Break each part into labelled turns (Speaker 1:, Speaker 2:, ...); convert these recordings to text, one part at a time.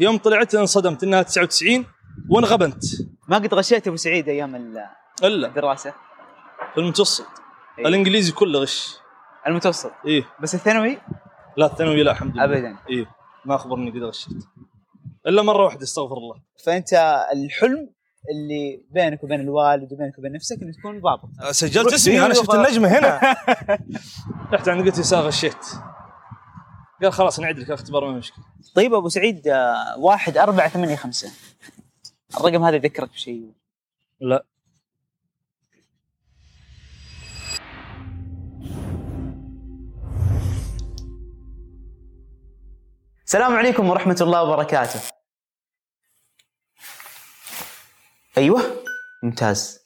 Speaker 1: يوم طلعت انصدمت انها 99 وانغبنت
Speaker 2: ما قد غشيت ابو سعيد ايام ال-
Speaker 1: الا
Speaker 2: الدراسه
Speaker 1: في المتوسط
Speaker 2: إيه.
Speaker 1: الانجليزي كله غش
Speaker 2: المتوسط
Speaker 1: ايه
Speaker 2: بس الثانوي
Speaker 1: لا الثانوي لا الحمد لله
Speaker 2: ابدا
Speaker 1: ايه ما اخبرني قد غشيت الا مره واحده استغفر الله
Speaker 2: فانت الحلم اللي بينك وبين الوالد وبينك وبين نفسك انك تكون ضابط
Speaker 3: سجلت
Speaker 1: روح
Speaker 3: اسمي انا
Speaker 2: دقيقة.
Speaker 3: شفت النجمه هنا
Speaker 1: رحت عند قلت يسار غشيت قال خلاص نعيد لك الاختبار ما في مشكله
Speaker 2: طيب ابو سعيد آه، واحد أربعة ثمانية خمسة الرقم هذا يذكرك بشيء
Speaker 1: لا
Speaker 2: السلام عليكم ورحمة الله وبركاته أيوه ممتاز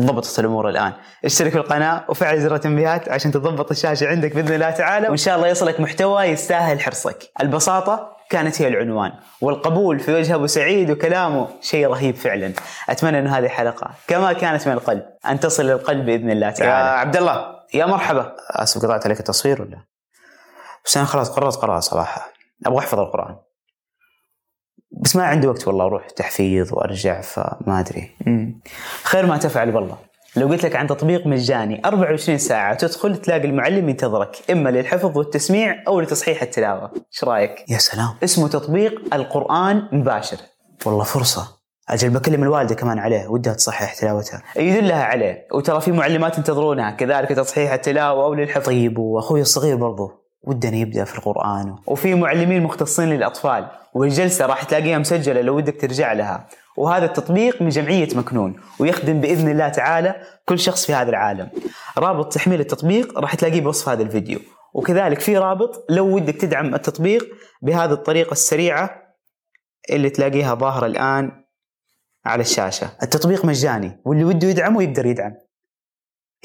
Speaker 2: ضبطت الأمور الآن اشترك في القناة وفعل زر التنبيهات عشان تضبط الشاشة عندك بإذن الله تعالى وإن شاء الله يصلك محتوى يستاهل حرصك البساطة كانت هي العنوان والقبول في وجه أبو سعيد وكلامه شيء رهيب فعلا أتمنى أن هذه الحلقة كما كانت من القلب أن تصل للقلب بإذن الله تعالى يا عبد الله يا مرحبا آسف قطعت عليك التصوير ولا بس أنا خلاص قررت قرار صراحة ابغى احفظ القران بس ما عندي وقت والله اروح تحفيظ وارجع فما ادري خير ما تفعل والله لو قلت لك عن تطبيق مجاني 24 ساعة تدخل تلاقي المعلم ينتظرك إما للحفظ والتسميع أو لتصحيح التلاوة إيش رأيك؟ يا سلام اسمه تطبيق القرآن مباشر والله فرصة أجل بكلم الوالدة كمان عليه ودها تصحح تلاوتها يدلها عليه وترى في معلمات ينتظرونها كذلك تصحيح التلاوة أو للحفظ طيب وأخوي الصغير برضه ودنا يبدا في القران وفي معلمين مختصين للاطفال والجلسه راح تلاقيها مسجله لو ودك ترجع لها وهذا التطبيق من جمعيه مكنون ويخدم باذن الله تعالى كل شخص في هذا العالم رابط تحميل التطبيق راح تلاقيه بوصف هذا الفيديو وكذلك في رابط لو ودك تدعم التطبيق بهذه الطريقه السريعه اللي تلاقيها ظاهره الان على الشاشه التطبيق مجاني واللي وده يدعمه يقدر يدعم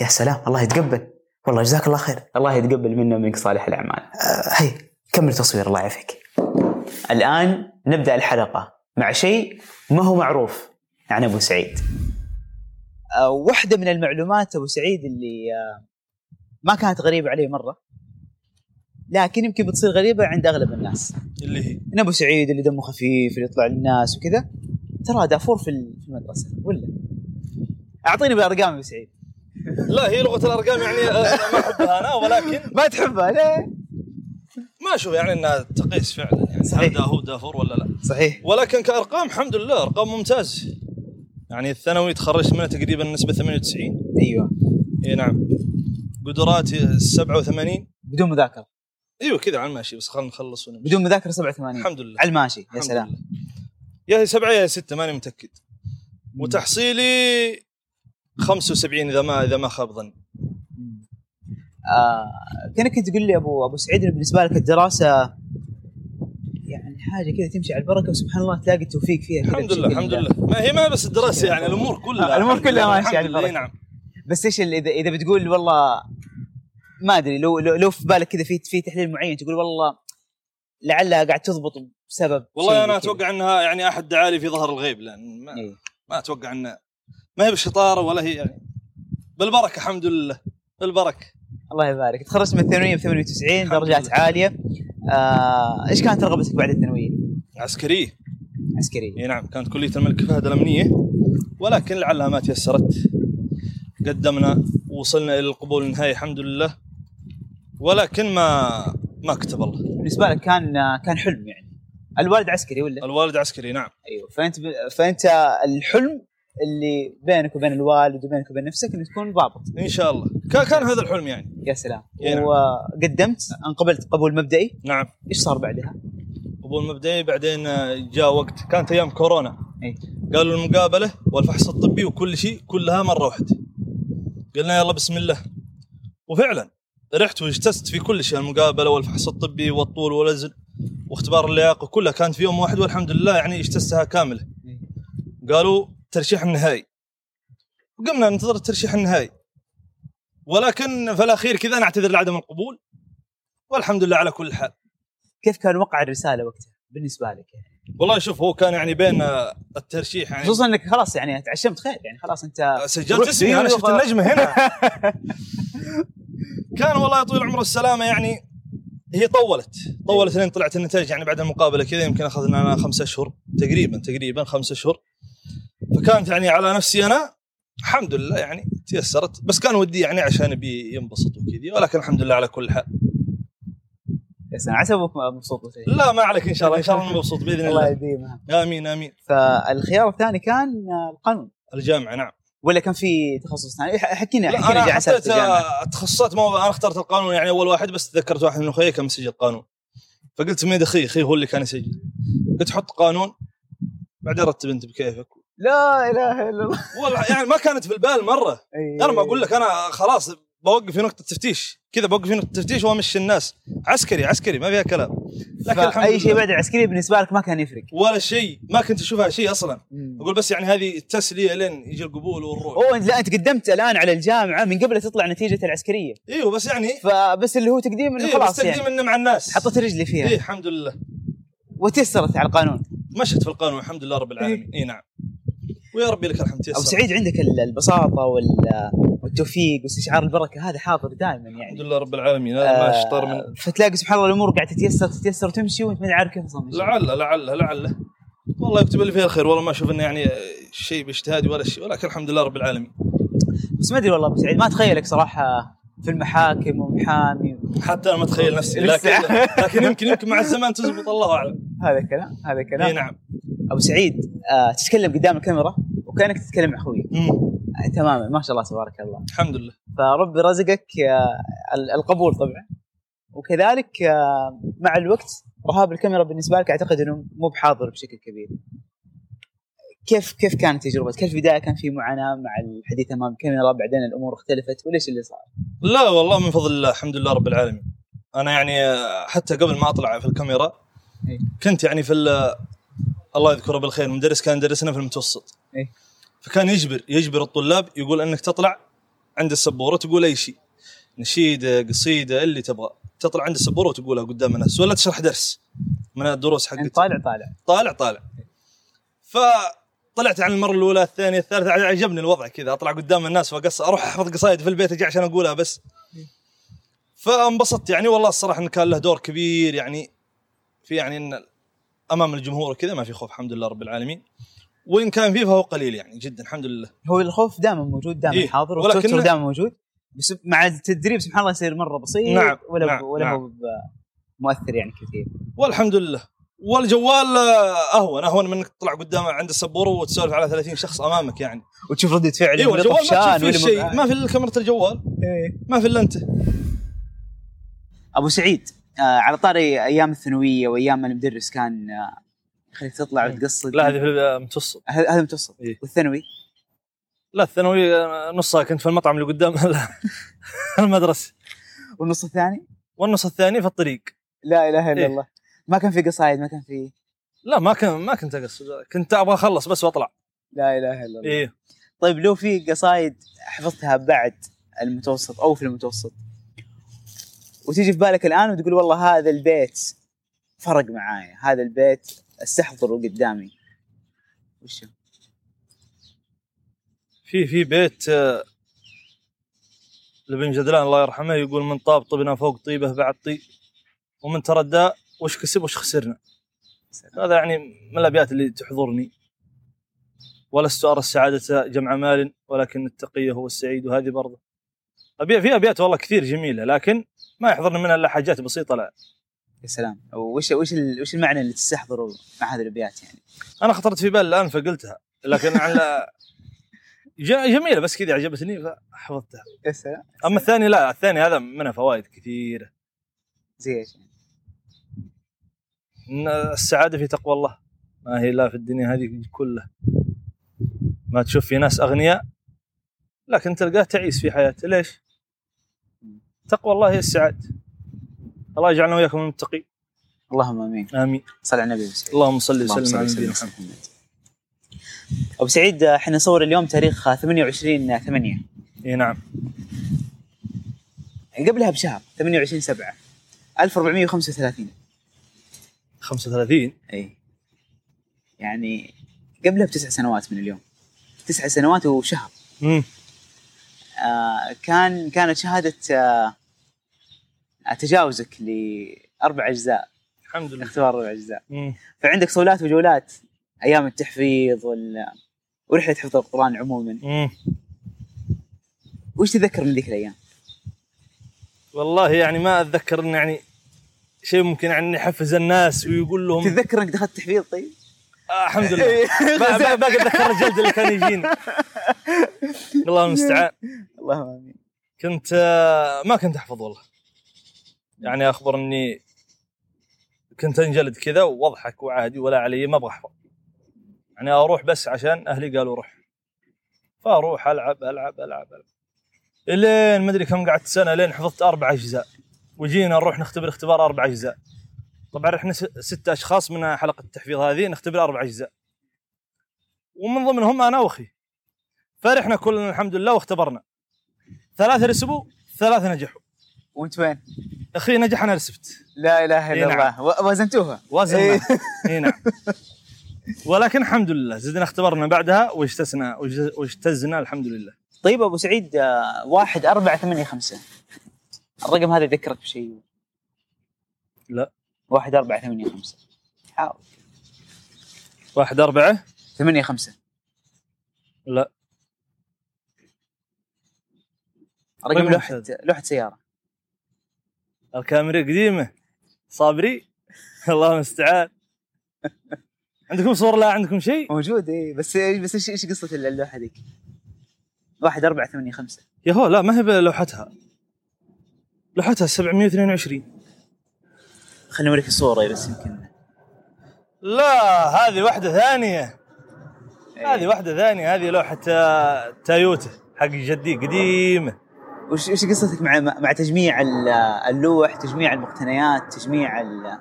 Speaker 2: يا سلام الله يتقبل والله جزاك الله خير الله يتقبل منا ومنك صالح الاعمال آه هي كمل تصوير الله يعافيك الان نبدا الحلقه مع شيء ما هو معروف عن ابو سعيد واحده آه، من المعلومات ابو سعيد اللي آه، ما كانت غريبه عليه مره لكن يمكن بتصير غريبه عند اغلب الناس
Speaker 1: اللي هي
Speaker 2: ان ابو سعيد اللي دمه خفيف اللي يطلع للناس وكذا ترى دافور في في المدرسه ولا اعطيني بالارقام يا ابو سعيد
Speaker 1: لا هي لغه الارقام يعني آه، ما احبها انا ولكن
Speaker 2: ما تحبها ليه؟
Speaker 1: ما اشوف يعني انها تقيس فعلا يعني
Speaker 2: صحيح.
Speaker 1: هل ده هو دافور ولا لا
Speaker 2: صحيح
Speaker 1: ولكن كارقام الحمد لله ارقام ممتاز يعني الثانوي تخرجت منه تقريبا نسبه 98
Speaker 2: ايوه
Speaker 1: اي نعم قدراتي 87
Speaker 2: بدون مذاكره
Speaker 1: ايوه كذا على الماشي بس خلينا نخلص ونمشي
Speaker 2: بدون مذاكره 87
Speaker 1: الحمد لله
Speaker 2: على الماشي يا
Speaker 1: الحمد
Speaker 2: سلام
Speaker 1: لله. يا هي سبعه يا هي سته ماني متاكد وتحصيلي 75 اذا ما اذا ما خاب ظني
Speaker 2: آه كانك كنت تقول لي ابو ابو سعيد إنه بالنسبه لك الدراسه يعني حاجه كذا تمشي على البركه وسبحان الله تلاقي التوفيق فيها كذا
Speaker 1: الحمد
Speaker 2: بشكل- يعني.
Speaker 1: لله الحمد لله ما هي ما بس الدراسه يعني الامور كلها
Speaker 2: آه، الأمور
Speaker 1: الحمد
Speaker 2: كلها
Speaker 1: لله،
Speaker 2: ماشية
Speaker 1: الحمد لله
Speaker 2: بالبركة.
Speaker 1: إي نعم
Speaker 2: بس ايش اللي- اذا اذا بتقول والله ما ادري لو لو, لو في بالك كذا في في تحليل معين تقول والله لعلها قاعد تضبط بسبب شيء
Speaker 1: والله انا
Speaker 2: كذا.
Speaker 1: اتوقع انها يعني احد دعالي في ظهر الغيب لان ما,
Speaker 2: إيه.
Speaker 1: ما اتوقع انها ما هي بالشطاره ولا هي يعني بالبركه الحمد لله بالبركه
Speaker 2: الله يبارك تخرجت من الثانويه ب 98
Speaker 1: الحمد
Speaker 2: درجات
Speaker 1: لله.
Speaker 2: عاليه آه، ايش كانت رغبتك بعد الثانويه؟
Speaker 1: عسكريه
Speaker 2: عسكريه
Speaker 1: اي نعم كانت كليه الملك فهد الامنيه ولكن لعلها ما تيسرت قدمنا وصلنا الى القبول النهائي الحمد لله ولكن ما ما كتب الله
Speaker 2: بالنسبه لك كان آه، كان حلم يعني الوالد عسكري ولا؟
Speaker 1: الوالد عسكري نعم
Speaker 2: ايوه فانت فانت الحلم اللي بينك وبين الوالد وبينك وبين نفسك انك تكون ضابط
Speaker 1: ان شاء الله كان كان هذا الحلم يعني
Speaker 2: يا سلام
Speaker 1: إي نعم.
Speaker 2: وقدمت انقبلت قبول مبدئي
Speaker 1: نعم
Speaker 2: ايش صار بعدها؟
Speaker 1: قبول مبدئي بعدين آه، جاء وقت كانت ايام كورونا
Speaker 2: اي
Speaker 1: قالوا المقابله والفحص الطبي وكل شيء كلها مره واحده قلنا يلا بسم الله وفعلا رحت واجتزت في كل شيء المقابله والفحص الطبي والطول والوزن واختبار اللياقه كلها كانت في يوم واحد والحمد لله يعني اجتزتها كامله قالوا ترشيح النهائي وقمنا ننتظر الترشيح النهائي ولكن في الاخير كذا نعتذر لعدم القبول والحمد لله على كل حال
Speaker 2: كيف كان وقع الرساله وقتها بالنسبه لك يعني
Speaker 1: والله شوف هو كان يعني بين آه، الترشيح يعني
Speaker 2: خصوصا انك خلاص يعني تعشمت خير يعني خلاص انت
Speaker 1: سجلت اسمي انا
Speaker 3: انا شفت النجمه هنا
Speaker 1: كان والله يا طويل العمر السلامة يعني هي طولت طولت لين طلعت النتائج يعني بعد المقابله كذا يمكن اخذنا انا خمسة اشهر تقريبا تقريبا خمسة اشهر فكانت يعني على نفسي انا الحمد لله يعني تيسرت بس كان ودي يعني عشان ابي ينبسط وكذي ولكن الحمد لله على كل حال
Speaker 2: يا سلام عسى ابوك مبسوط وشيء.
Speaker 1: لا ما عليك ان شاء الله ان شاء الله أنا مبسوط باذن
Speaker 2: الله
Speaker 1: الله
Speaker 2: يديمها
Speaker 1: امين امين
Speaker 2: فالخيار الثاني كان القانون
Speaker 1: الجامعه نعم
Speaker 2: ولا كان في تخصص ثاني ح- حكينا
Speaker 1: لا
Speaker 2: حكينا
Speaker 1: انا
Speaker 2: جاء
Speaker 1: حطيت
Speaker 2: سالفه الجامعه
Speaker 1: آه، تخصصات ما انا اخترت القانون يعني اول واحد بس تذكرت واحد من اخوي كان مسجل قانون فقلت ميد اخي اخي هو اللي كان يسجل قلت حط قانون بعدين رتب انت بكيفك
Speaker 2: لا اله الا الله
Speaker 1: والله يعني ما كانت في البال مره انا ما اقول لك انا خلاص بوقف في نقطه تفتيش كذا بوقف في نقطه تفتيش وامشي الناس عسكري عسكري ما فيها كلام لكن الحمد
Speaker 2: اي
Speaker 1: لله
Speaker 2: شيء بعد العسكري بالنسبه لك ما كان يفرق
Speaker 1: ولا شيء ما كنت اشوفها شيء اصلا اقول بس يعني هذه التسليه لين يجي القبول والروح
Speaker 2: اوه لا انت قدمت الان على الجامعه من قبل تطلع نتيجه العسكريه
Speaker 1: ايوه بس يعني
Speaker 2: فبس اللي هو تقديم انه
Speaker 1: إيه بس
Speaker 2: خلاص
Speaker 1: تقديم
Speaker 2: يعني
Speaker 1: انه مع الناس
Speaker 2: حطيت يعني. رجلي فيها
Speaker 1: ايه الحمد لله
Speaker 2: وتيسرت على القانون
Speaker 1: مشت في القانون الحمد لله رب العالمين اي نعم ويا ربي لك الحمد
Speaker 2: ابو
Speaker 1: تيسر
Speaker 2: إيه. سعيد عندك ال- البساطه وال- والتوفيق واستشعار البركه هذا حاضر دائما يعني
Speaker 1: الحمد لله رب العالمين هذا ما
Speaker 2: آه،
Speaker 1: اشطر من
Speaker 2: فتلاقي سبحان الله الامور قاعده تتيسر تتيسر وتمشي وانت ما عارف كيف اصلا
Speaker 1: لعله لعله لعله والله يكتب لي فيها الخير والله ما اشوف انه يعني شيء باجتهادي ولا شيء ولكن الحمد لله رب العالمين
Speaker 2: بس ما ادري والله ابو سعيد ما اتخيلك صراحه في المحاكم ومحامي
Speaker 1: حتى انا ما اتخيل نفسي لكن
Speaker 2: لسه.
Speaker 1: لكن يمكن يمكن مع الزمان تزبط الله اعلم
Speaker 2: هذا كلام هذا
Speaker 1: اي
Speaker 2: كلام
Speaker 1: نعم
Speaker 2: ابو سعيد آه تتكلم قدام الكاميرا وكانك تتكلم مع اخوي
Speaker 1: مم.
Speaker 2: آه تماما ما شاء الله تبارك الله
Speaker 1: الحمد لله
Speaker 2: فربي رزقك آه، ال- القبول طبعا وكذلك آه، مع الوقت رهاب الكاميرا بالنسبه لك اعتقد انه مو بحاضر بشكل كبير كيف كيف كانت تجربتك؟ هل في البدايه كان في معاناه مع الحديث امام الكاميرا بعدين الامور اختلفت وليش اللي صار؟
Speaker 1: لا والله من فضل الله الحمد لله رب العالمين انا يعني آه، حتى قبل ما اطلع في الكاميرا
Speaker 2: إيه.
Speaker 1: كنت يعني في ال- الله يذكره بالخير مدرس كان يدرسنا في المتوسط
Speaker 2: إيه.
Speaker 1: فكان يجبر يجبر الطلاب يقول انك تطلع عند السبوره تقول اي شيء نشيده قصيده اللي تبغى تطلع عند السبوره وتقولها قدام الناس ولا تشرح درس من الدروس
Speaker 2: يعني
Speaker 1: حقتك
Speaker 2: طالع طالع
Speaker 1: طالع طالع فطلعت عن المره الاولى الثانيه الثالثه يعني عجبني الوضع كذا اطلع قدام الناس واقص اروح احفظ قصايد في البيت اجي عشان اقولها بس فانبسطت يعني والله الصراحه انه كان له دور كبير يعني في يعني ان امام الجمهور كذا ما في خوف الحمد لله رب العالمين وان كان فيه فهو قليل يعني جدا الحمد لله
Speaker 2: هو الخوف دائما موجود دائما
Speaker 1: إيه،
Speaker 2: إيه؟ حاضر
Speaker 1: ولكن-
Speaker 2: والتوتر دائما موجود بس مع التدريب سبحان الله يصير مره بسيط
Speaker 1: نعم،
Speaker 2: ولا
Speaker 1: نعم،
Speaker 2: ولا
Speaker 1: نعم.
Speaker 2: هو ب- مؤثر يعني كثير
Speaker 1: والحمد لله والجوال آه، اهون اهون من انك تطلع قدام عند السبوره وتسولف على 30 شخص امامك يعني
Speaker 2: وتشوف رده فعله
Speaker 1: ايوه
Speaker 2: ولا
Speaker 1: الجوال ما
Speaker 2: طفشان آه.
Speaker 1: تشوف فيه
Speaker 2: ولا
Speaker 1: شيء ما في الا كاميرا الجوال
Speaker 2: إيه.
Speaker 1: ما في الا انت
Speaker 2: ابو سعيد آه على طاري ايام الثانويه وايام ما المدرس كان آه يخليك تطلع وتقصد
Speaker 1: إيه. لا هذه في المتوسط
Speaker 2: هذا هذا متوسط
Speaker 1: إيه.
Speaker 2: والثانوي
Speaker 1: لا الثانوي نصها كنت في المطعم اللي قدام المدرسه
Speaker 2: والنص الثاني
Speaker 1: والنص الثاني في الطريق
Speaker 2: لا اله الا
Speaker 1: إيه.
Speaker 2: الله ما كان في قصايد ما كان في
Speaker 1: لا ما كنت ما كنت اقصد كنت ابغى اخلص بس واطلع
Speaker 2: لا اله الا الله
Speaker 1: ايه
Speaker 2: طيب لو في قصايد حفظتها بعد المتوسط او في المتوسط وتيجي في بالك الان وتقول والله هذا البيت فرق معايا هذا البيت استحضره قدامي وش هو؟
Speaker 1: في في بيت آه، لابن جدلان الله يرحمه يقول من طاب طبنا فوق طيبه بعد طيب ومن تردى وش كسب وش خسرنا هذا يعني من الابيات اللي تحضرني ولست ارى السعاده جمع مال ولكن التقي هو السعيد وهذه برضه ابيات في ابيات والله كثير جميله لكن ما يحضرني منها الا حاجات بسيطه لا
Speaker 2: يا سلام وش وش ال- وش المعنى اللي تستحضره مع هذه الابيات يعني
Speaker 1: انا خطرت في بالي الان فقلتها لكن على ج- جميله بس كذا عجبتني فحفظتها
Speaker 2: يا سلام
Speaker 1: اما الثاني لا الثاني هذا منها فوائد كثيره
Speaker 2: زي ايش يعني؟
Speaker 1: ان السعاده في تقوى الله ما هي لا في الدنيا هذه كلها ما تشوف في ناس اغنياء لكن تلقاه تعيس في حياته ليش؟ تقوى الله هي السعاده الله يجعلنا واياكم من المتقين
Speaker 2: اللهم امين
Speaker 1: امين
Speaker 2: صل على النبي أبو سعيد.
Speaker 1: اللهم صل
Speaker 2: اللهم
Speaker 1: وسلم على
Speaker 2: صل
Speaker 1: نبينا
Speaker 2: وسلم
Speaker 1: محمد
Speaker 2: محمد. ابو سعيد آه، احنا نصور اليوم تاريخ آه، 28 8
Speaker 1: اي نعم
Speaker 2: يعني قبلها بشهر 28 7 1435
Speaker 1: 35
Speaker 2: اي يعني قبلها بتسع سنوات من اليوم تسع سنوات وشهر
Speaker 1: امم
Speaker 2: آه، كان كانت شهاده آه، تجاوزك ل- اربع اجزاء
Speaker 1: الحمد لله
Speaker 2: اختبار اربع اجزاء
Speaker 1: مم.
Speaker 2: فعندك صولات وجولات ايام التحفيظ وال ورحله حفظ القران عموما
Speaker 1: مم.
Speaker 2: وش تذكر من ذيك الايام؟
Speaker 1: والله يعني ما اتذكر ان يعني شيء ممكن يعني يحفز الناس ويقول لهم
Speaker 2: تتذكر انك دخلت تحفيظ طيب؟
Speaker 1: آه الحمد لله ما- ما- باقي اتذكر الجلد اللي كان يجيني الله المستعان
Speaker 2: اللهم امين
Speaker 1: كنت آه، ما كنت احفظ والله يعني اخبر اني كنت انجلد كذا واضحك وعادي ولا علي ما ابغى احفظ يعني اروح بس عشان اهلي قالوا روح فاروح العب العب العب, ألعب. الين ما ادري كم قعدت سنه لين حفظت اربع اجزاء وجينا نروح نختبر اختبار اربع اجزاء طبعا احنا س- ستة اشخاص من حلقه التحفيظ هذه نختبر اربع اجزاء ومن ضمنهم انا واخي فرحنا كلنا الحمد لله واختبرنا ثلاثة رسبوا ثلاثة نجحوا
Speaker 2: وانت وين؟
Speaker 1: أخي نجح أنا رسبت
Speaker 2: لا اله
Speaker 1: إي
Speaker 2: الا
Speaker 1: نعم.
Speaker 2: الله و- وزنتوها
Speaker 1: وزن
Speaker 2: إيه.
Speaker 1: اي نعم ولكن الحمد لله زدنا اختبرنا بعدها واجتزنا واجت- واجتزنا الحمد لله
Speaker 2: طيب ابو سعيد آه، واحد أربعة ثمانية خمسة الرقم هذا يذكرك بشيء
Speaker 1: لا.
Speaker 2: واحد أربعة ثمانية خمسة حاول
Speaker 1: واحد أربعة
Speaker 2: ثمانية خمسة
Speaker 1: لا
Speaker 2: رقم
Speaker 1: رقم
Speaker 2: لوحة
Speaker 1: واحد.
Speaker 2: لوحة سيارة
Speaker 1: الكاميرا قديمة صابري الله المستعان عندكم صور لا عندكم شيء
Speaker 2: موجود اي بس يعني، بس ايش ايش قصة اللوحة ذيك؟ واحد أربعة ثمانية خمسة
Speaker 1: يا هو لا ما هي بلوحتها لوحتها 722
Speaker 2: خليني اوريك الصورة إيه، بس يمكن
Speaker 1: لا هذه واحدة ثانية
Speaker 2: إيه.
Speaker 1: هذه واحدة ثانية هذه لوحة آه، تايوتا حق جدي قديمة
Speaker 2: وش وش قصتك مع مع تجميع ال- اللوح تجميع المقتنيات تجميع ال-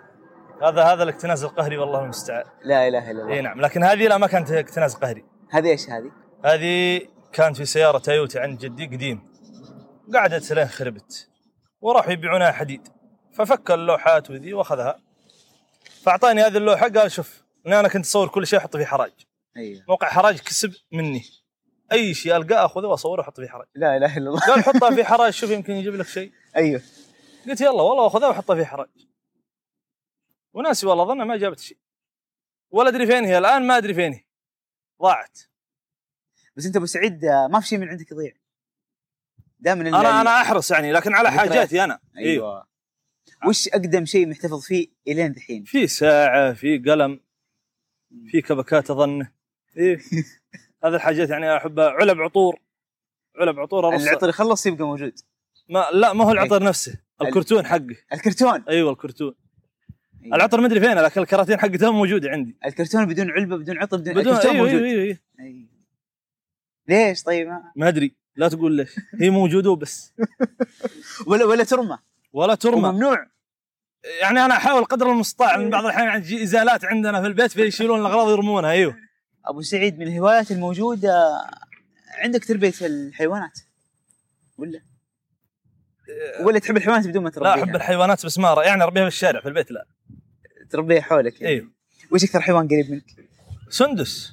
Speaker 1: هذا هذا الاكتناز القهري والله المستعان
Speaker 2: لا اله الا
Speaker 1: اي
Speaker 2: الله
Speaker 1: نعم لكن هذه لا ما كانت اكتناز قهري
Speaker 2: هذه ايش هذه؟
Speaker 1: هذه كانت في سياره تويوتا عند جدي قديم قعدت لين خربت وراحوا يبيعونها حديد ففك اللوحات وذي واخذها فاعطاني هذه اللوحه قال شوف إن انا كنت اصور كل شيء احطه في حراج
Speaker 2: ايوه
Speaker 1: موقع حراج كسب مني اي شيء القاه اخذه واصوره واحطه في حراج
Speaker 2: لا اله الا الله
Speaker 1: قال حطها في حراج شوف يمكن يجيب لك شيء
Speaker 2: ايوه
Speaker 1: قلت يلا والله اخذها واحطها في حراج وناسي والله ظنها ما جابت شيء ولا ادري فين هي الان ما ادري فين هي ضاعت
Speaker 2: بس انت ابو سعيد آه، ما في شيء من عندك يضيع دائما
Speaker 1: انا انا احرص يعني لكن على
Speaker 2: ذكريات.
Speaker 1: حاجاتي انا ايوه
Speaker 2: ايوه وش اقدم شيء محتفظ فيه الين ذحين؟
Speaker 1: في ساعه في قلم في كبكات اظن ايه هذه الحاجات يعني احبها علب عطور علب عطور أرص-
Speaker 2: العطر أيوة. يخلص يبقى موجود
Speaker 1: ما لا ما هو العطر نفسه الكرتون حقه
Speaker 2: الكرتون
Speaker 1: ايوه الكرتون
Speaker 2: أيوة.
Speaker 1: العطر مدري فين لكن الكراتين حقتهم موجوده عندي
Speaker 2: الكرتون بدون علبه بدون عطر بدون,
Speaker 1: بدون
Speaker 2: إيه، الكرتون
Speaker 1: ايوه
Speaker 2: موجود
Speaker 1: ايوه, أيوة, أيوة.
Speaker 2: أيوة. ليش طيب ما-
Speaker 1: ما ادري لا تقول ليش هي موجوده وبس
Speaker 2: ولا ولا ترمى
Speaker 1: ولا ترمى
Speaker 2: ممنوع
Speaker 1: يعني انا احاول قدر المستطاع
Speaker 2: إيه.
Speaker 1: من بعض الاحيان عندي ازالات عندنا في البيت فيشيلون الاغراض يرمونها ايوه
Speaker 2: ابو سعيد من الهوايات الموجوده عندك تربيه الحيوانات ولا ولا تحب الحيوانات بدون ما
Speaker 1: أه. لا احب
Speaker 2: تربيها
Speaker 1: الحيوانات بس ما أرى- يعني اربيها بالشارع في البيت لا
Speaker 2: تربيها حولك يعني.
Speaker 1: ايوه
Speaker 2: وش اكثر حيوان قريب منك؟
Speaker 1: سندس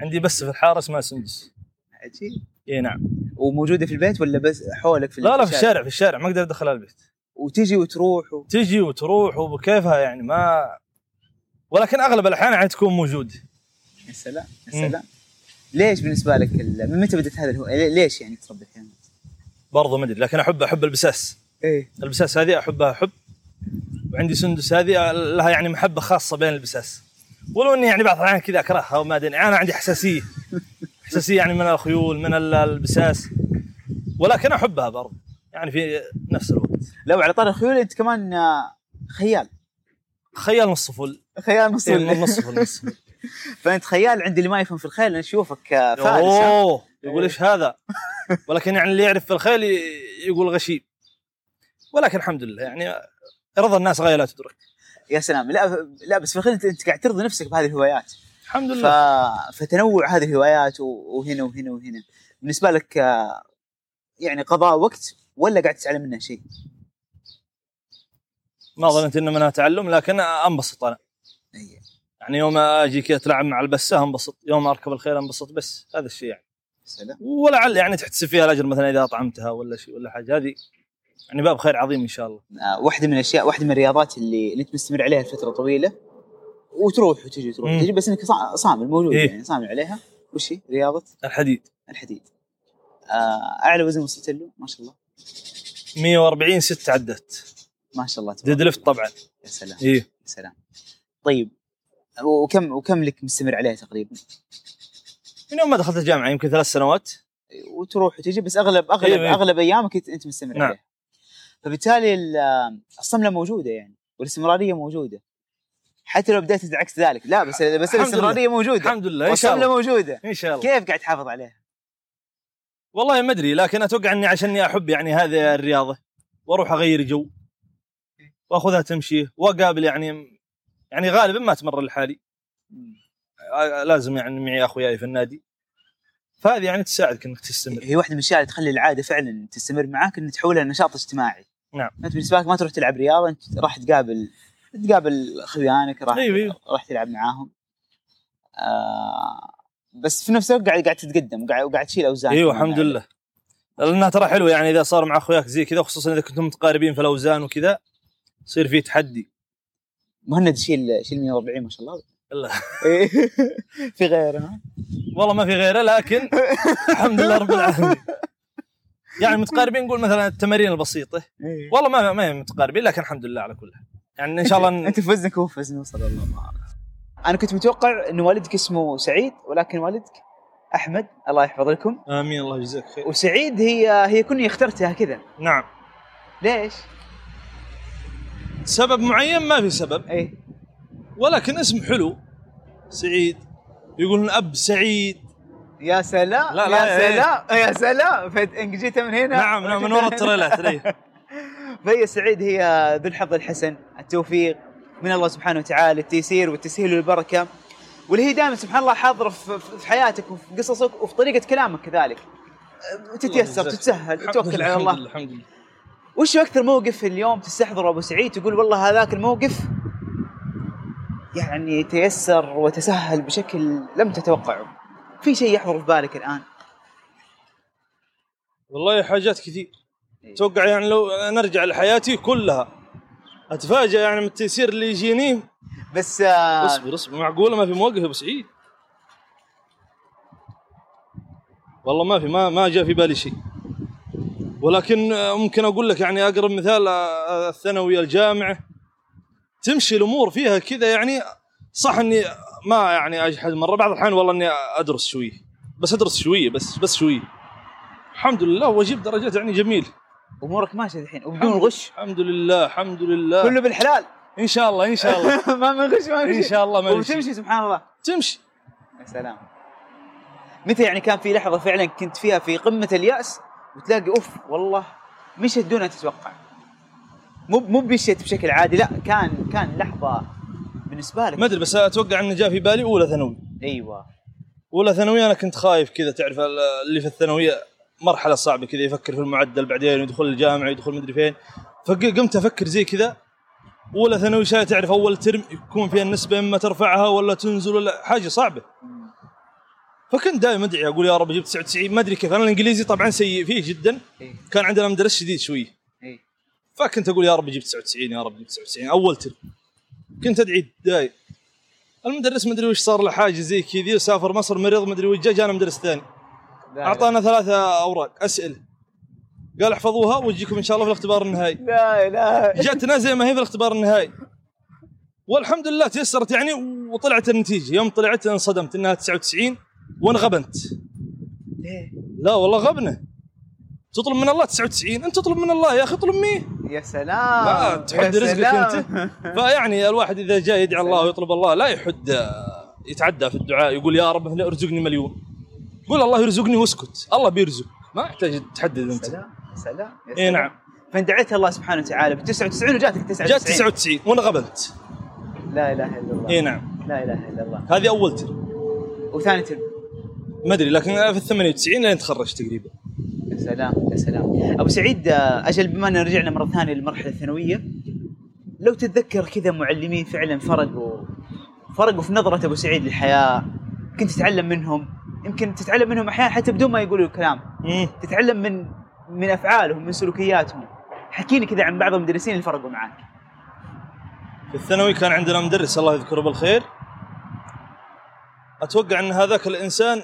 Speaker 1: عندي بس في الحاره اسمها سندس
Speaker 2: عجيب
Speaker 1: اي نعم
Speaker 2: وموجوده في البيت ولا بس حولك في
Speaker 1: لا لا في
Speaker 2: الشارع؟
Speaker 1: الشارع في الشارع ما اقدر ادخلها البيت
Speaker 2: وتجي وتروح و...
Speaker 1: تجي وتروح وبكيفها يعني ما ولكن اغلب الاحيان يعني تكون موجود
Speaker 2: يا سلام يا سلام ليش بالنسبه لك ال... من متى بدات هذا الهو... لي- ليش يعني تربي الحيوانات؟
Speaker 1: برضه ما ادري لكن احب احب البساس
Speaker 2: ايه
Speaker 1: البساس هذه احبها حب وعندي سندس هذه لها يعني محبه خاصه بين البساس ولو اني يعني بعض الاحيان كذا اكرهها وما ادري انا عندي حساسيه حساسيه يعني من الخيول من ال- البساس ولكن احبها برضه يعني في نفس الوقت
Speaker 2: لو على طار الخيول انت كمان آه، خيال
Speaker 1: خيال نص فل
Speaker 2: خيال نص
Speaker 1: إيه،
Speaker 2: ولا-
Speaker 1: نص فل نص فل
Speaker 2: فانت خيال عند اللي ما يفهم في الخيل انا اشوفك آه، فارس ها؟ إيه.
Speaker 1: اوه يقول ايش هذا ولكن يعني اللي يعرف في الخيل ي- يقول غشيم ولكن الحمد لله يعني رضا الناس غايه لا تدرك
Speaker 2: يا سلام لا لا بس في الخيل انت, انت قاعد ترضي نفسك بهذه الهوايات
Speaker 1: الحمد
Speaker 2: ف...
Speaker 1: لله
Speaker 2: فتنوع هذه الهوايات و... وهنا وهنا وهنا بالنسبه لك آه، يعني قضاء وقت ولا قاعد تتعلم منها شيء؟
Speaker 1: ما ظننت ان منها تعلم لكن انبسط انا
Speaker 2: أي.
Speaker 1: يعني يوم اجي كذا اتلاعب مع البسه انبسط يوم اركب الخيل انبسط بس هذا الشيء يعني
Speaker 2: سلام
Speaker 1: ولعل يعني تحتسب فيها الاجر مثلا اذا اطعمتها ولا شيء ولا حاجه هذه يعني باب خير عظيم ان شاء الله
Speaker 2: آه، واحده من الاشياء واحده من الرياضات اللي اللي انت مستمر عليها لفتره طويله وتروح وتجي تروح
Speaker 1: مم.
Speaker 2: وتجي بس انك صا- صامل موجود
Speaker 1: إيه.
Speaker 2: يعني صامل عليها وش هي؟ رياضه
Speaker 1: الحديد
Speaker 2: الحديد آه، اعلى وزن وصلت له ما شاء الله
Speaker 1: 140 ست عدت
Speaker 2: ما شاء الله تبارك
Speaker 1: ديد ليفت إيه. طبعا
Speaker 2: يا سلام يا
Speaker 1: اي
Speaker 2: سلام طيب وكم وكم لك مستمر عليها تقريبا؟
Speaker 1: من يوم ما دخلت الجامعه يمكن ثلاث سنوات
Speaker 2: وتروح وتجي بس اغلب اغلب
Speaker 1: إيه.
Speaker 2: اغلب ايامك انت أنت مستمر
Speaker 1: نعم.
Speaker 2: عليها فبالتالي ال- الصمله موجوده يعني والاستمراريه موجوده حتى لو بديت عكس ذلك لا بس
Speaker 1: الحمد
Speaker 2: بس الاستمراريه موجوده
Speaker 1: الحمد لله ان شاء
Speaker 2: والصمله
Speaker 1: الله
Speaker 2: موجوده
Speaker 1: ان شاء الله
Speaker 2: كيف قاعد تحافظ عليها؟
Speaker 1: والله ما ادري لكن اتوقع اني عشان اني احب يعني هذه الرياضه واروح اغير جو واخذها تمشي واقابل يعني يعني غالبا ما اتمرن لحالي آه، لازم يعني معي اخوياي في النادي فهذه يعني تساعدك انك تستمر
Speaker 2: هي واحده من الاشياء اللي تخلي العاده فعلا تستمر معاك ان تحولها لنشاط اجتماعي
Speaker 1: نعم.
Speaker 2: انت بالنسبه لك ما تروح تلعب رياضه انت راح تقابل تقابل خلانك راح
Speaker 1: أيوة، أيوة.
Speaker 2: راح تلعب معاهم آه بس في نفس الوقت قاعد قاعد تتقدم وقاعد وقاعد تشيل اوزان
Speaker 1: ايوه
Speaker 2: كمان. يعني.
Speaker 1: الحمد لله لانها ترى حلوه يعني اذا صار مع اخوياك زي كذا خصوصا اذا كنتم متقاربين في الاوزان وكذا يصير في تحدي
Speaker 2: مهند شيل شيل 140 ما شاء الله
Speaker 1: الله.
Speaker 2: إيه. في غيره
Speaker 1: والله ما في غيره لكن الحمد لله رب العالمين يعني متقاربين نقول مثلا التمارين البسيطه
Speaker 2: إيه.
Speaker 1: والله ما ما هي متقاربين لكن الحمد لله على كل حال يعني ان شاء الله
Speaker 2: انت في وزنك وهو في وزني وصل الله معك. انا كنت متوقع انه والدك اسمه سعيد ولكن والدك احمد الله يحفظ لكم
Speaker 1: امين الله يجزاك خير
Speaker 2: وسعيد هي هي كوني اخترتها كذا
Speaker 1: نعم
Speaker 2: ليش؟
Speaker 1: سبب معين ما في سبب
Speaker 2: اي
Speaker 1: ولكن اسم حلو سعيد يقولون اب سعيد
Speaker 2: يا سلام
Speaker 1: لا،
Speaker 2: يا
Speaker 1: لا، إيه.
Speaker 2: سلام يا سلام فد- إنك جيت من هنا
Speaker 1: نعم نعم من وراء التريلات أي.
Speaker 2: فهي سعيد هي ذو الحظ الحسن التوفيق من الله سبحانه وتعالى التيسير والتسهيل والبركه واللي هي دائما سبحان الله حاضره في في حياتك وفي قصصك وفي طريقه كلامك كذلك تتيسر
Speaker 1: الله يجزاك.
Speaker 2: تتسهل
Speaker 1: الحمد
Speaker 2: توكل
Speaker 1: لله،
Speaker 2: على
Speaker 1: الحمد
Speaker 2: الله
Speaker 1: لله، الحمد لله
Speaker 2: وش اكثر موقف اليوم تستحضره ابو سعيد تقول والله هذاك الموقف يعني تيسر وتسهل بشكل لم تتوقعه في شيء يحضر في بالك الان
Speaker 1: والله حاجات كثير
Speaker 2: إيه.
Speaker 1: اتوقع يعني لو نرجع لحياتي كلها اتفاجئ يعني من التيسير اللي يجيني
Speaker 2: بس آه،
Speaker 1: اصبر اصبر معقوله ما في موقف يا ابو سعيد والله ما في ما ما جاء في بالي شيء ولكن آه، ممكن اقول لك يعني اقرب مثال آه، الثانويه الجامعه تمشي الامور فيها كذا يعني صح اني ما يعني اجحد مره بعض الاحيان والله اني ادرس شويه بس ادرس شويه بس بس شويه الحمد لله واجيب درجات يعني جميله
Speaker 2: امورك ماشيه الحين وبدون غش
Speaker 1: الحمد لله الحمد لله
Speaker 2: كله بالحلال
Speaker 1: ان شاء الله ان شاء الله
Speaker 2: ما من غش ما من
Speaker 1: ان
Speaker 2: شيء.
Speaker 1: شاء الله ما في شيء.
Speaker 2: وتمشي سبحان الله
Speaker 1: تمشي
Speaker 2: يا سلام متى يعني كان في لحظه فعلا كنت فيها في قمه الياس وتلاقي اوف والله مشت دون ان تتوقع مو مو مشيت بشكل عادي لا كان كان لحظه بالنسبه لك
Speaker 1: ما ادري بس اتوقع انه جاء في بالي اولى ثانوي
Speaker 2: ايوه
Speaker 1: اولى ثانوي انا كنت خايف كذا تعرف ال- اللي في الثانويه مرحله صعبه كذا يفكر في المعدل بعدين يدخل الجامعه يدخل مدري فين فقمت افكر زي كذا اولى ثانوي شيء تعرف اول ترم يكون فيها النسبه اما ترفعها ولا تنزل ولا حاجه صعبه
Speaker 2: مم.
Speaker 1: فكنت دائما ادعي اقول يا رب اجيب 99 ما ادري كيف انا الانجليزي طبعا سيء فيه جدا
Speaker 2: ايه
Speaker 1: كان عندنا مدرس شديد شويه
Speaker 2: ايه
Speaker 1: فكنت اقول يا رب اجيب 99 يا رب اجيب 99 اول ترم كنت ادعي داي المدرس مدري وش صار له حاجه زي كذي وسافر مصر مريض مدري وش جا جانا مدرس ثاني
Speaker 2: لا
Speaker 1: اعطانا ثلاثة اوراق اسئله قال احفظوها ويجيكم ان شاء الله في الاختبار النهائي
Speaker 2: لا لا
Speaker 1: جاتنا زي ما هي في الاختبار النهائي والحمد لله تيسرت يعني وطلعت النتيجه يوم طلعت انصدمت انها 99 وانغبنت
Speaker 2: ليه
Speaker 1: لا والله غبنه تطلب من الله 99 انت تطلب من الله يا اخي اطلب مني
Speaker 2: يا سلام
Speaker 1: آه، لا، تحد
Speaker 2: يا
Speaker 1: رزقك
Speaker 2: سلام.
Speaker 1: فيعني الواحد اذا جاء يدعي الله
Speaker 2: سلام.
Speaker 1: ويطلب الله لا يحد آه، يتعدى في الدعاء يقول يا رب لا ارزقني مليون قول الله يرزقني واسكت الله بيرزق ما يحتاج تحدد انت
Speaker 2: سلام سلام يا
Speaker 1: اي
Speaker 2: سلام.
Speaker 1: نعم
Speaker 2: فانت دعيت الله سبحانه وتعالى ب 99 وجاتك 99
Speaker 1: جاء 99 وانغبنت
Speaker 2: لا اله الا الله
Speaker 1: اي نعم
Speaker 2: لا اله الا الله
Speaker 1: هذه اول ترم
Speaker 2: وثاني ترم
Speaker 1: ما ادري لكن أنا في ال 98 لين تخرجت تقريبا
Speaker 2: يا سلام يا سلام ابو سعيد آه، اجل بما ان رجعنا مره ثانيه للمرحله الثانويه لو تتذكر كذا معلمين فعلا فرقوا فرقوا في نظره ابو سعيد للحياه كنت تتعلم منهم يمكن تتعلم منهم احيانا حتى بدون ما يقولوا الكلام
Speaker 1: مم.
Speaker 2: تتعلم من من افعالهم من سلوكياتهم حكي لي كذا عن بعض المدرسين اللي فرقوا معاك
Speaker 1: في الثانوي كان عندنا مدرس الله يذكره بالخير اتوقع ان هذاك الانسان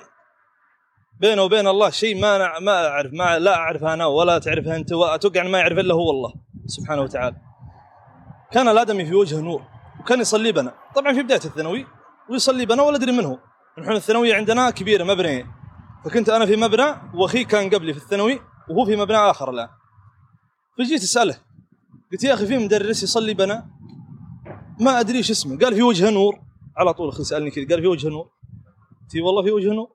Speaker 1: بينه وبين الله شيء ما أنا ما اعرف ما لا اعرفه انا ولا تعرفه انت واتوقع ان ما يعرف الا هو الله سبحانه وتعالى. كان الادمي في وجهه نور وكان يصلي بنا، طبعا في بدايه الثانوي ويصلي بنا ولا ادري من هو. نحن الثانويه عندنا كبيره مبنيين فكنت انا في مبنى واخي كان قبلي في الثانوي وهو في مبنى اخر الان. فجيت اساله قلت يا اخي في مدرس يصلي بنا ما ادري ايش اسمه قال في وجهه نور على طول اخي سالني كذا قال في وجهه نور قلت والله في وجهه نور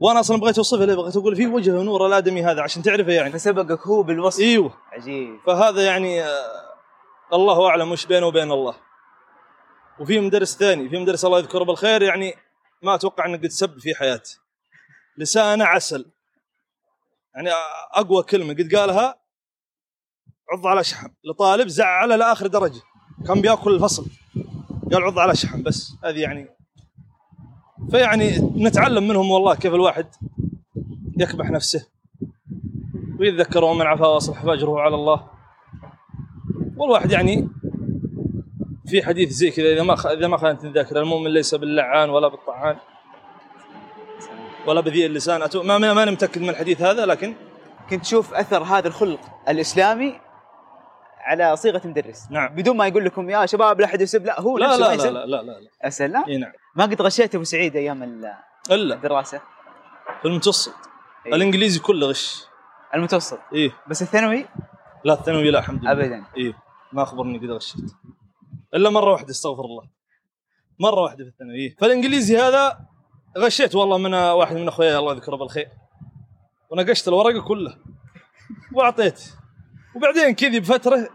Speaker 1: وانا اصلا بغيت اوصفه ليه بغيت اقول في وجهه نور الادمي هذا عشان تعرفه يعني
Speaker 2: فسبقك هو بالوصف
Speaker 1: ايوه
Speaker 2: عجيب
Speaker 1: فهذا يعني آه، الله اعلم وش بينه وبين الله وفي مدرس ثاني في مدرس الله يذكره بالخير يعني ما اتوقع انه قد سب في حياتي لسانه عسل يعني آه، اقوى كلمه قد قالها عض على شحم لطالب زعله لاخر درجه كان بياكل الفصل قال عض على شحم بس هذه يعني فيعني نتعلم منهم والله كيف الواحد يكبح نفسه ويتذكر ومن عفا واصلح فاجره على الله والواحد يعني في حديث زي كذا اذا ما خ- اذا ما خانت الذاكره المؤمن ليس باللعان ولا بالطعان ولا بذي اللسان أتو... ما ما- ماني متاكد من الحديث هذا لكن
Speaker 2: كنت تشوف اثر هذا الخلق الاسلامي على صيغه مدرس
Speaker 1: نعم
Speaker 2: بدون ما يقول لكم يا شباب لا احد يسب لا هو
Speaker 1: لا
Speaker 2: نفسه ما
Speaker 1: لا لا
Speaker 2: يسب.
Speaker 1: لا لا لا, لا.
Speaker 2: يا سلام
Speaker 1: إي نعم
Speaker 2: ما قد غشيت ابو سعيد ايام
Speaker 1: الا
Speaker 2: الدراسه
Speaker 1: في المتوسط
Speaker 2: إيه.
Speaker 1: الانجليزي كله غش
Speaker 2: المتوسط
Speaker 1: ايه
Speaker 2: بس الثانوي
Speaker 1: لا الثانوي لا الحمد لله
Speaker 2: ابدا
Speaker 1: ايه ما اخبرني قد غشيت الا مره واحده استغفر الله مره واحده في الثانوي إيه. فالانجليزي هذا غشيت والله من واحد من اخوياي الله يذكره بالخير ونقشت الورقه كله واعطيت وبعدين كذي بفتره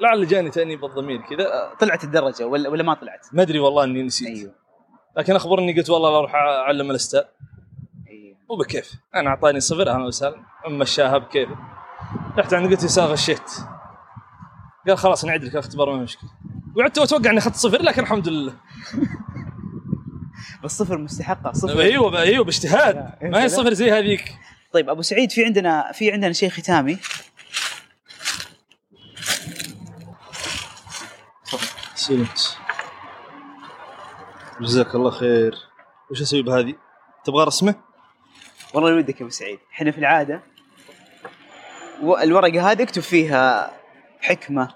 Speaker 1: لعل جاني تانيب الضمير كذا
Speaker 2: طلعت الدرجه ولا ولا ما طلعت؟
Speaker 1: ما ادري والله اني نسيت
Speaker 2: ايوه
Speaker 1: لكن اخبرني قلت والله بروح اعلم الاستاذ
Speaker 2: ايوه
Speaker 1: وبكيف انا اعطاني صفر انا وسالم مشاها بكيفي رحت عند قلت يسار غشيت قال خلاص نعيد لك الاختبار ما في مشكله وقعدت اتوقع اني اخذت صفر لكن الحمد لله
Speaker 2: بس صفر مستحقه صفر
Speaker 1: ايوه ايوه باجتهاد ما هي صفر زي هذيك
Speaker 2: طيب ابو سعيد في عندنا في عندنا شيء ختامي
Speaker 1: سلمت جزاك الله خير وش اسوي بهذه؟ تبغى رسمه؟
Speaker 2: والله ودك يا ابو سعيد احنا في العاده و- الورقه هذه اكتب فيها حكمه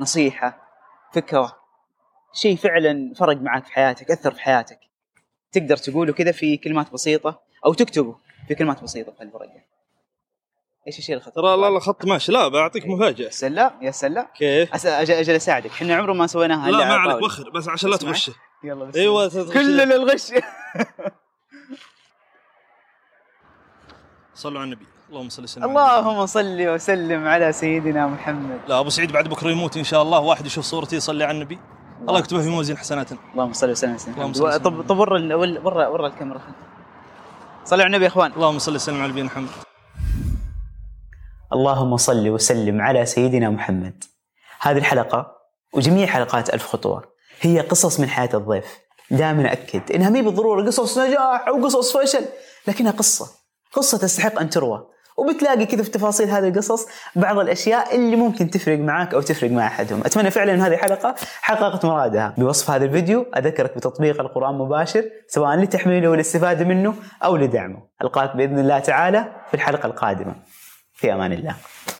Speaker 2: نصيحه فكره شيء فعلا فرق معك في حياتك اثر في حياتك تقدر تقوله كذا في كلمات بسيطه او تكتبه في كلمات بسيطه في الورقه ايش الشيء اللي
Speaker 1: ترى لا لا خط ماشي لا بعطيك مفاجاه
Speaker 2: يا سلام يا سلام
Speaker 1: كيف؟
Speaker 2: أس- أجل, اجل اساعدك احنا عمره ما سويناها
Speaker 1: لا
Speaker 2: إلا
Speaker 1: ما
Speaker 2: على
Speaker 1: عليك
Speaker 2: طاولة.
Speaker 1: وخر بس عشان لا
Speaker 2: اسمع.
Speaker 1: تغش
Speaker 2: يلا بس
Speaker 1: ايوه تغش.
Speaker 2: كل الغش
Speaker 1: صلوا على النبي اللهم صل وسلم على النبي.
Speaker 2: اللهم صل وسلم على سيدنا محمد
Speaker 1: لا ابو سعيد بعد بكره يموت ان شاء الله واحد يشوف صورتي يصلي على النبي الله يكتبها في موازين حسناتنا
Speaker 2: اللهم صل وسلم على
Speaker 1: اللهم
Speaker 2: محمد
Speaker 1: صل وسلم.
Speaker 2: طب طب ورا ال- ول- ورا ورا الكاميرا صلوا على النبي يا اخوان
Speaker 1: اللهم صل وسلم على نبينا محمد
Speaker 2: اللهم صل وسلم على سيدنا محمد هذه الحلقة وجميع حلقات ألف خطوة هي قصص من حياة الضيف دائما أكد إنها مي بالضرورة قصص نجاح أو قصص فشل لكنها قصة قصة تستحق أن تروى وبتلاقي كذا في تفاصيل هذه القصص بعض الأشياء اللي ممكن تفرق معك أو تفرق مع أحدهم أتمنى فعلا أن هذه الحلقة حققت مرادها بوصف هذا الفيديو أذكرك بتطبيق القرآن مباشر سواء لتحميله والاستفادة منه أو لدعمه ألقاك بإذن الله تعالى في الحلقة القادمة في امان الله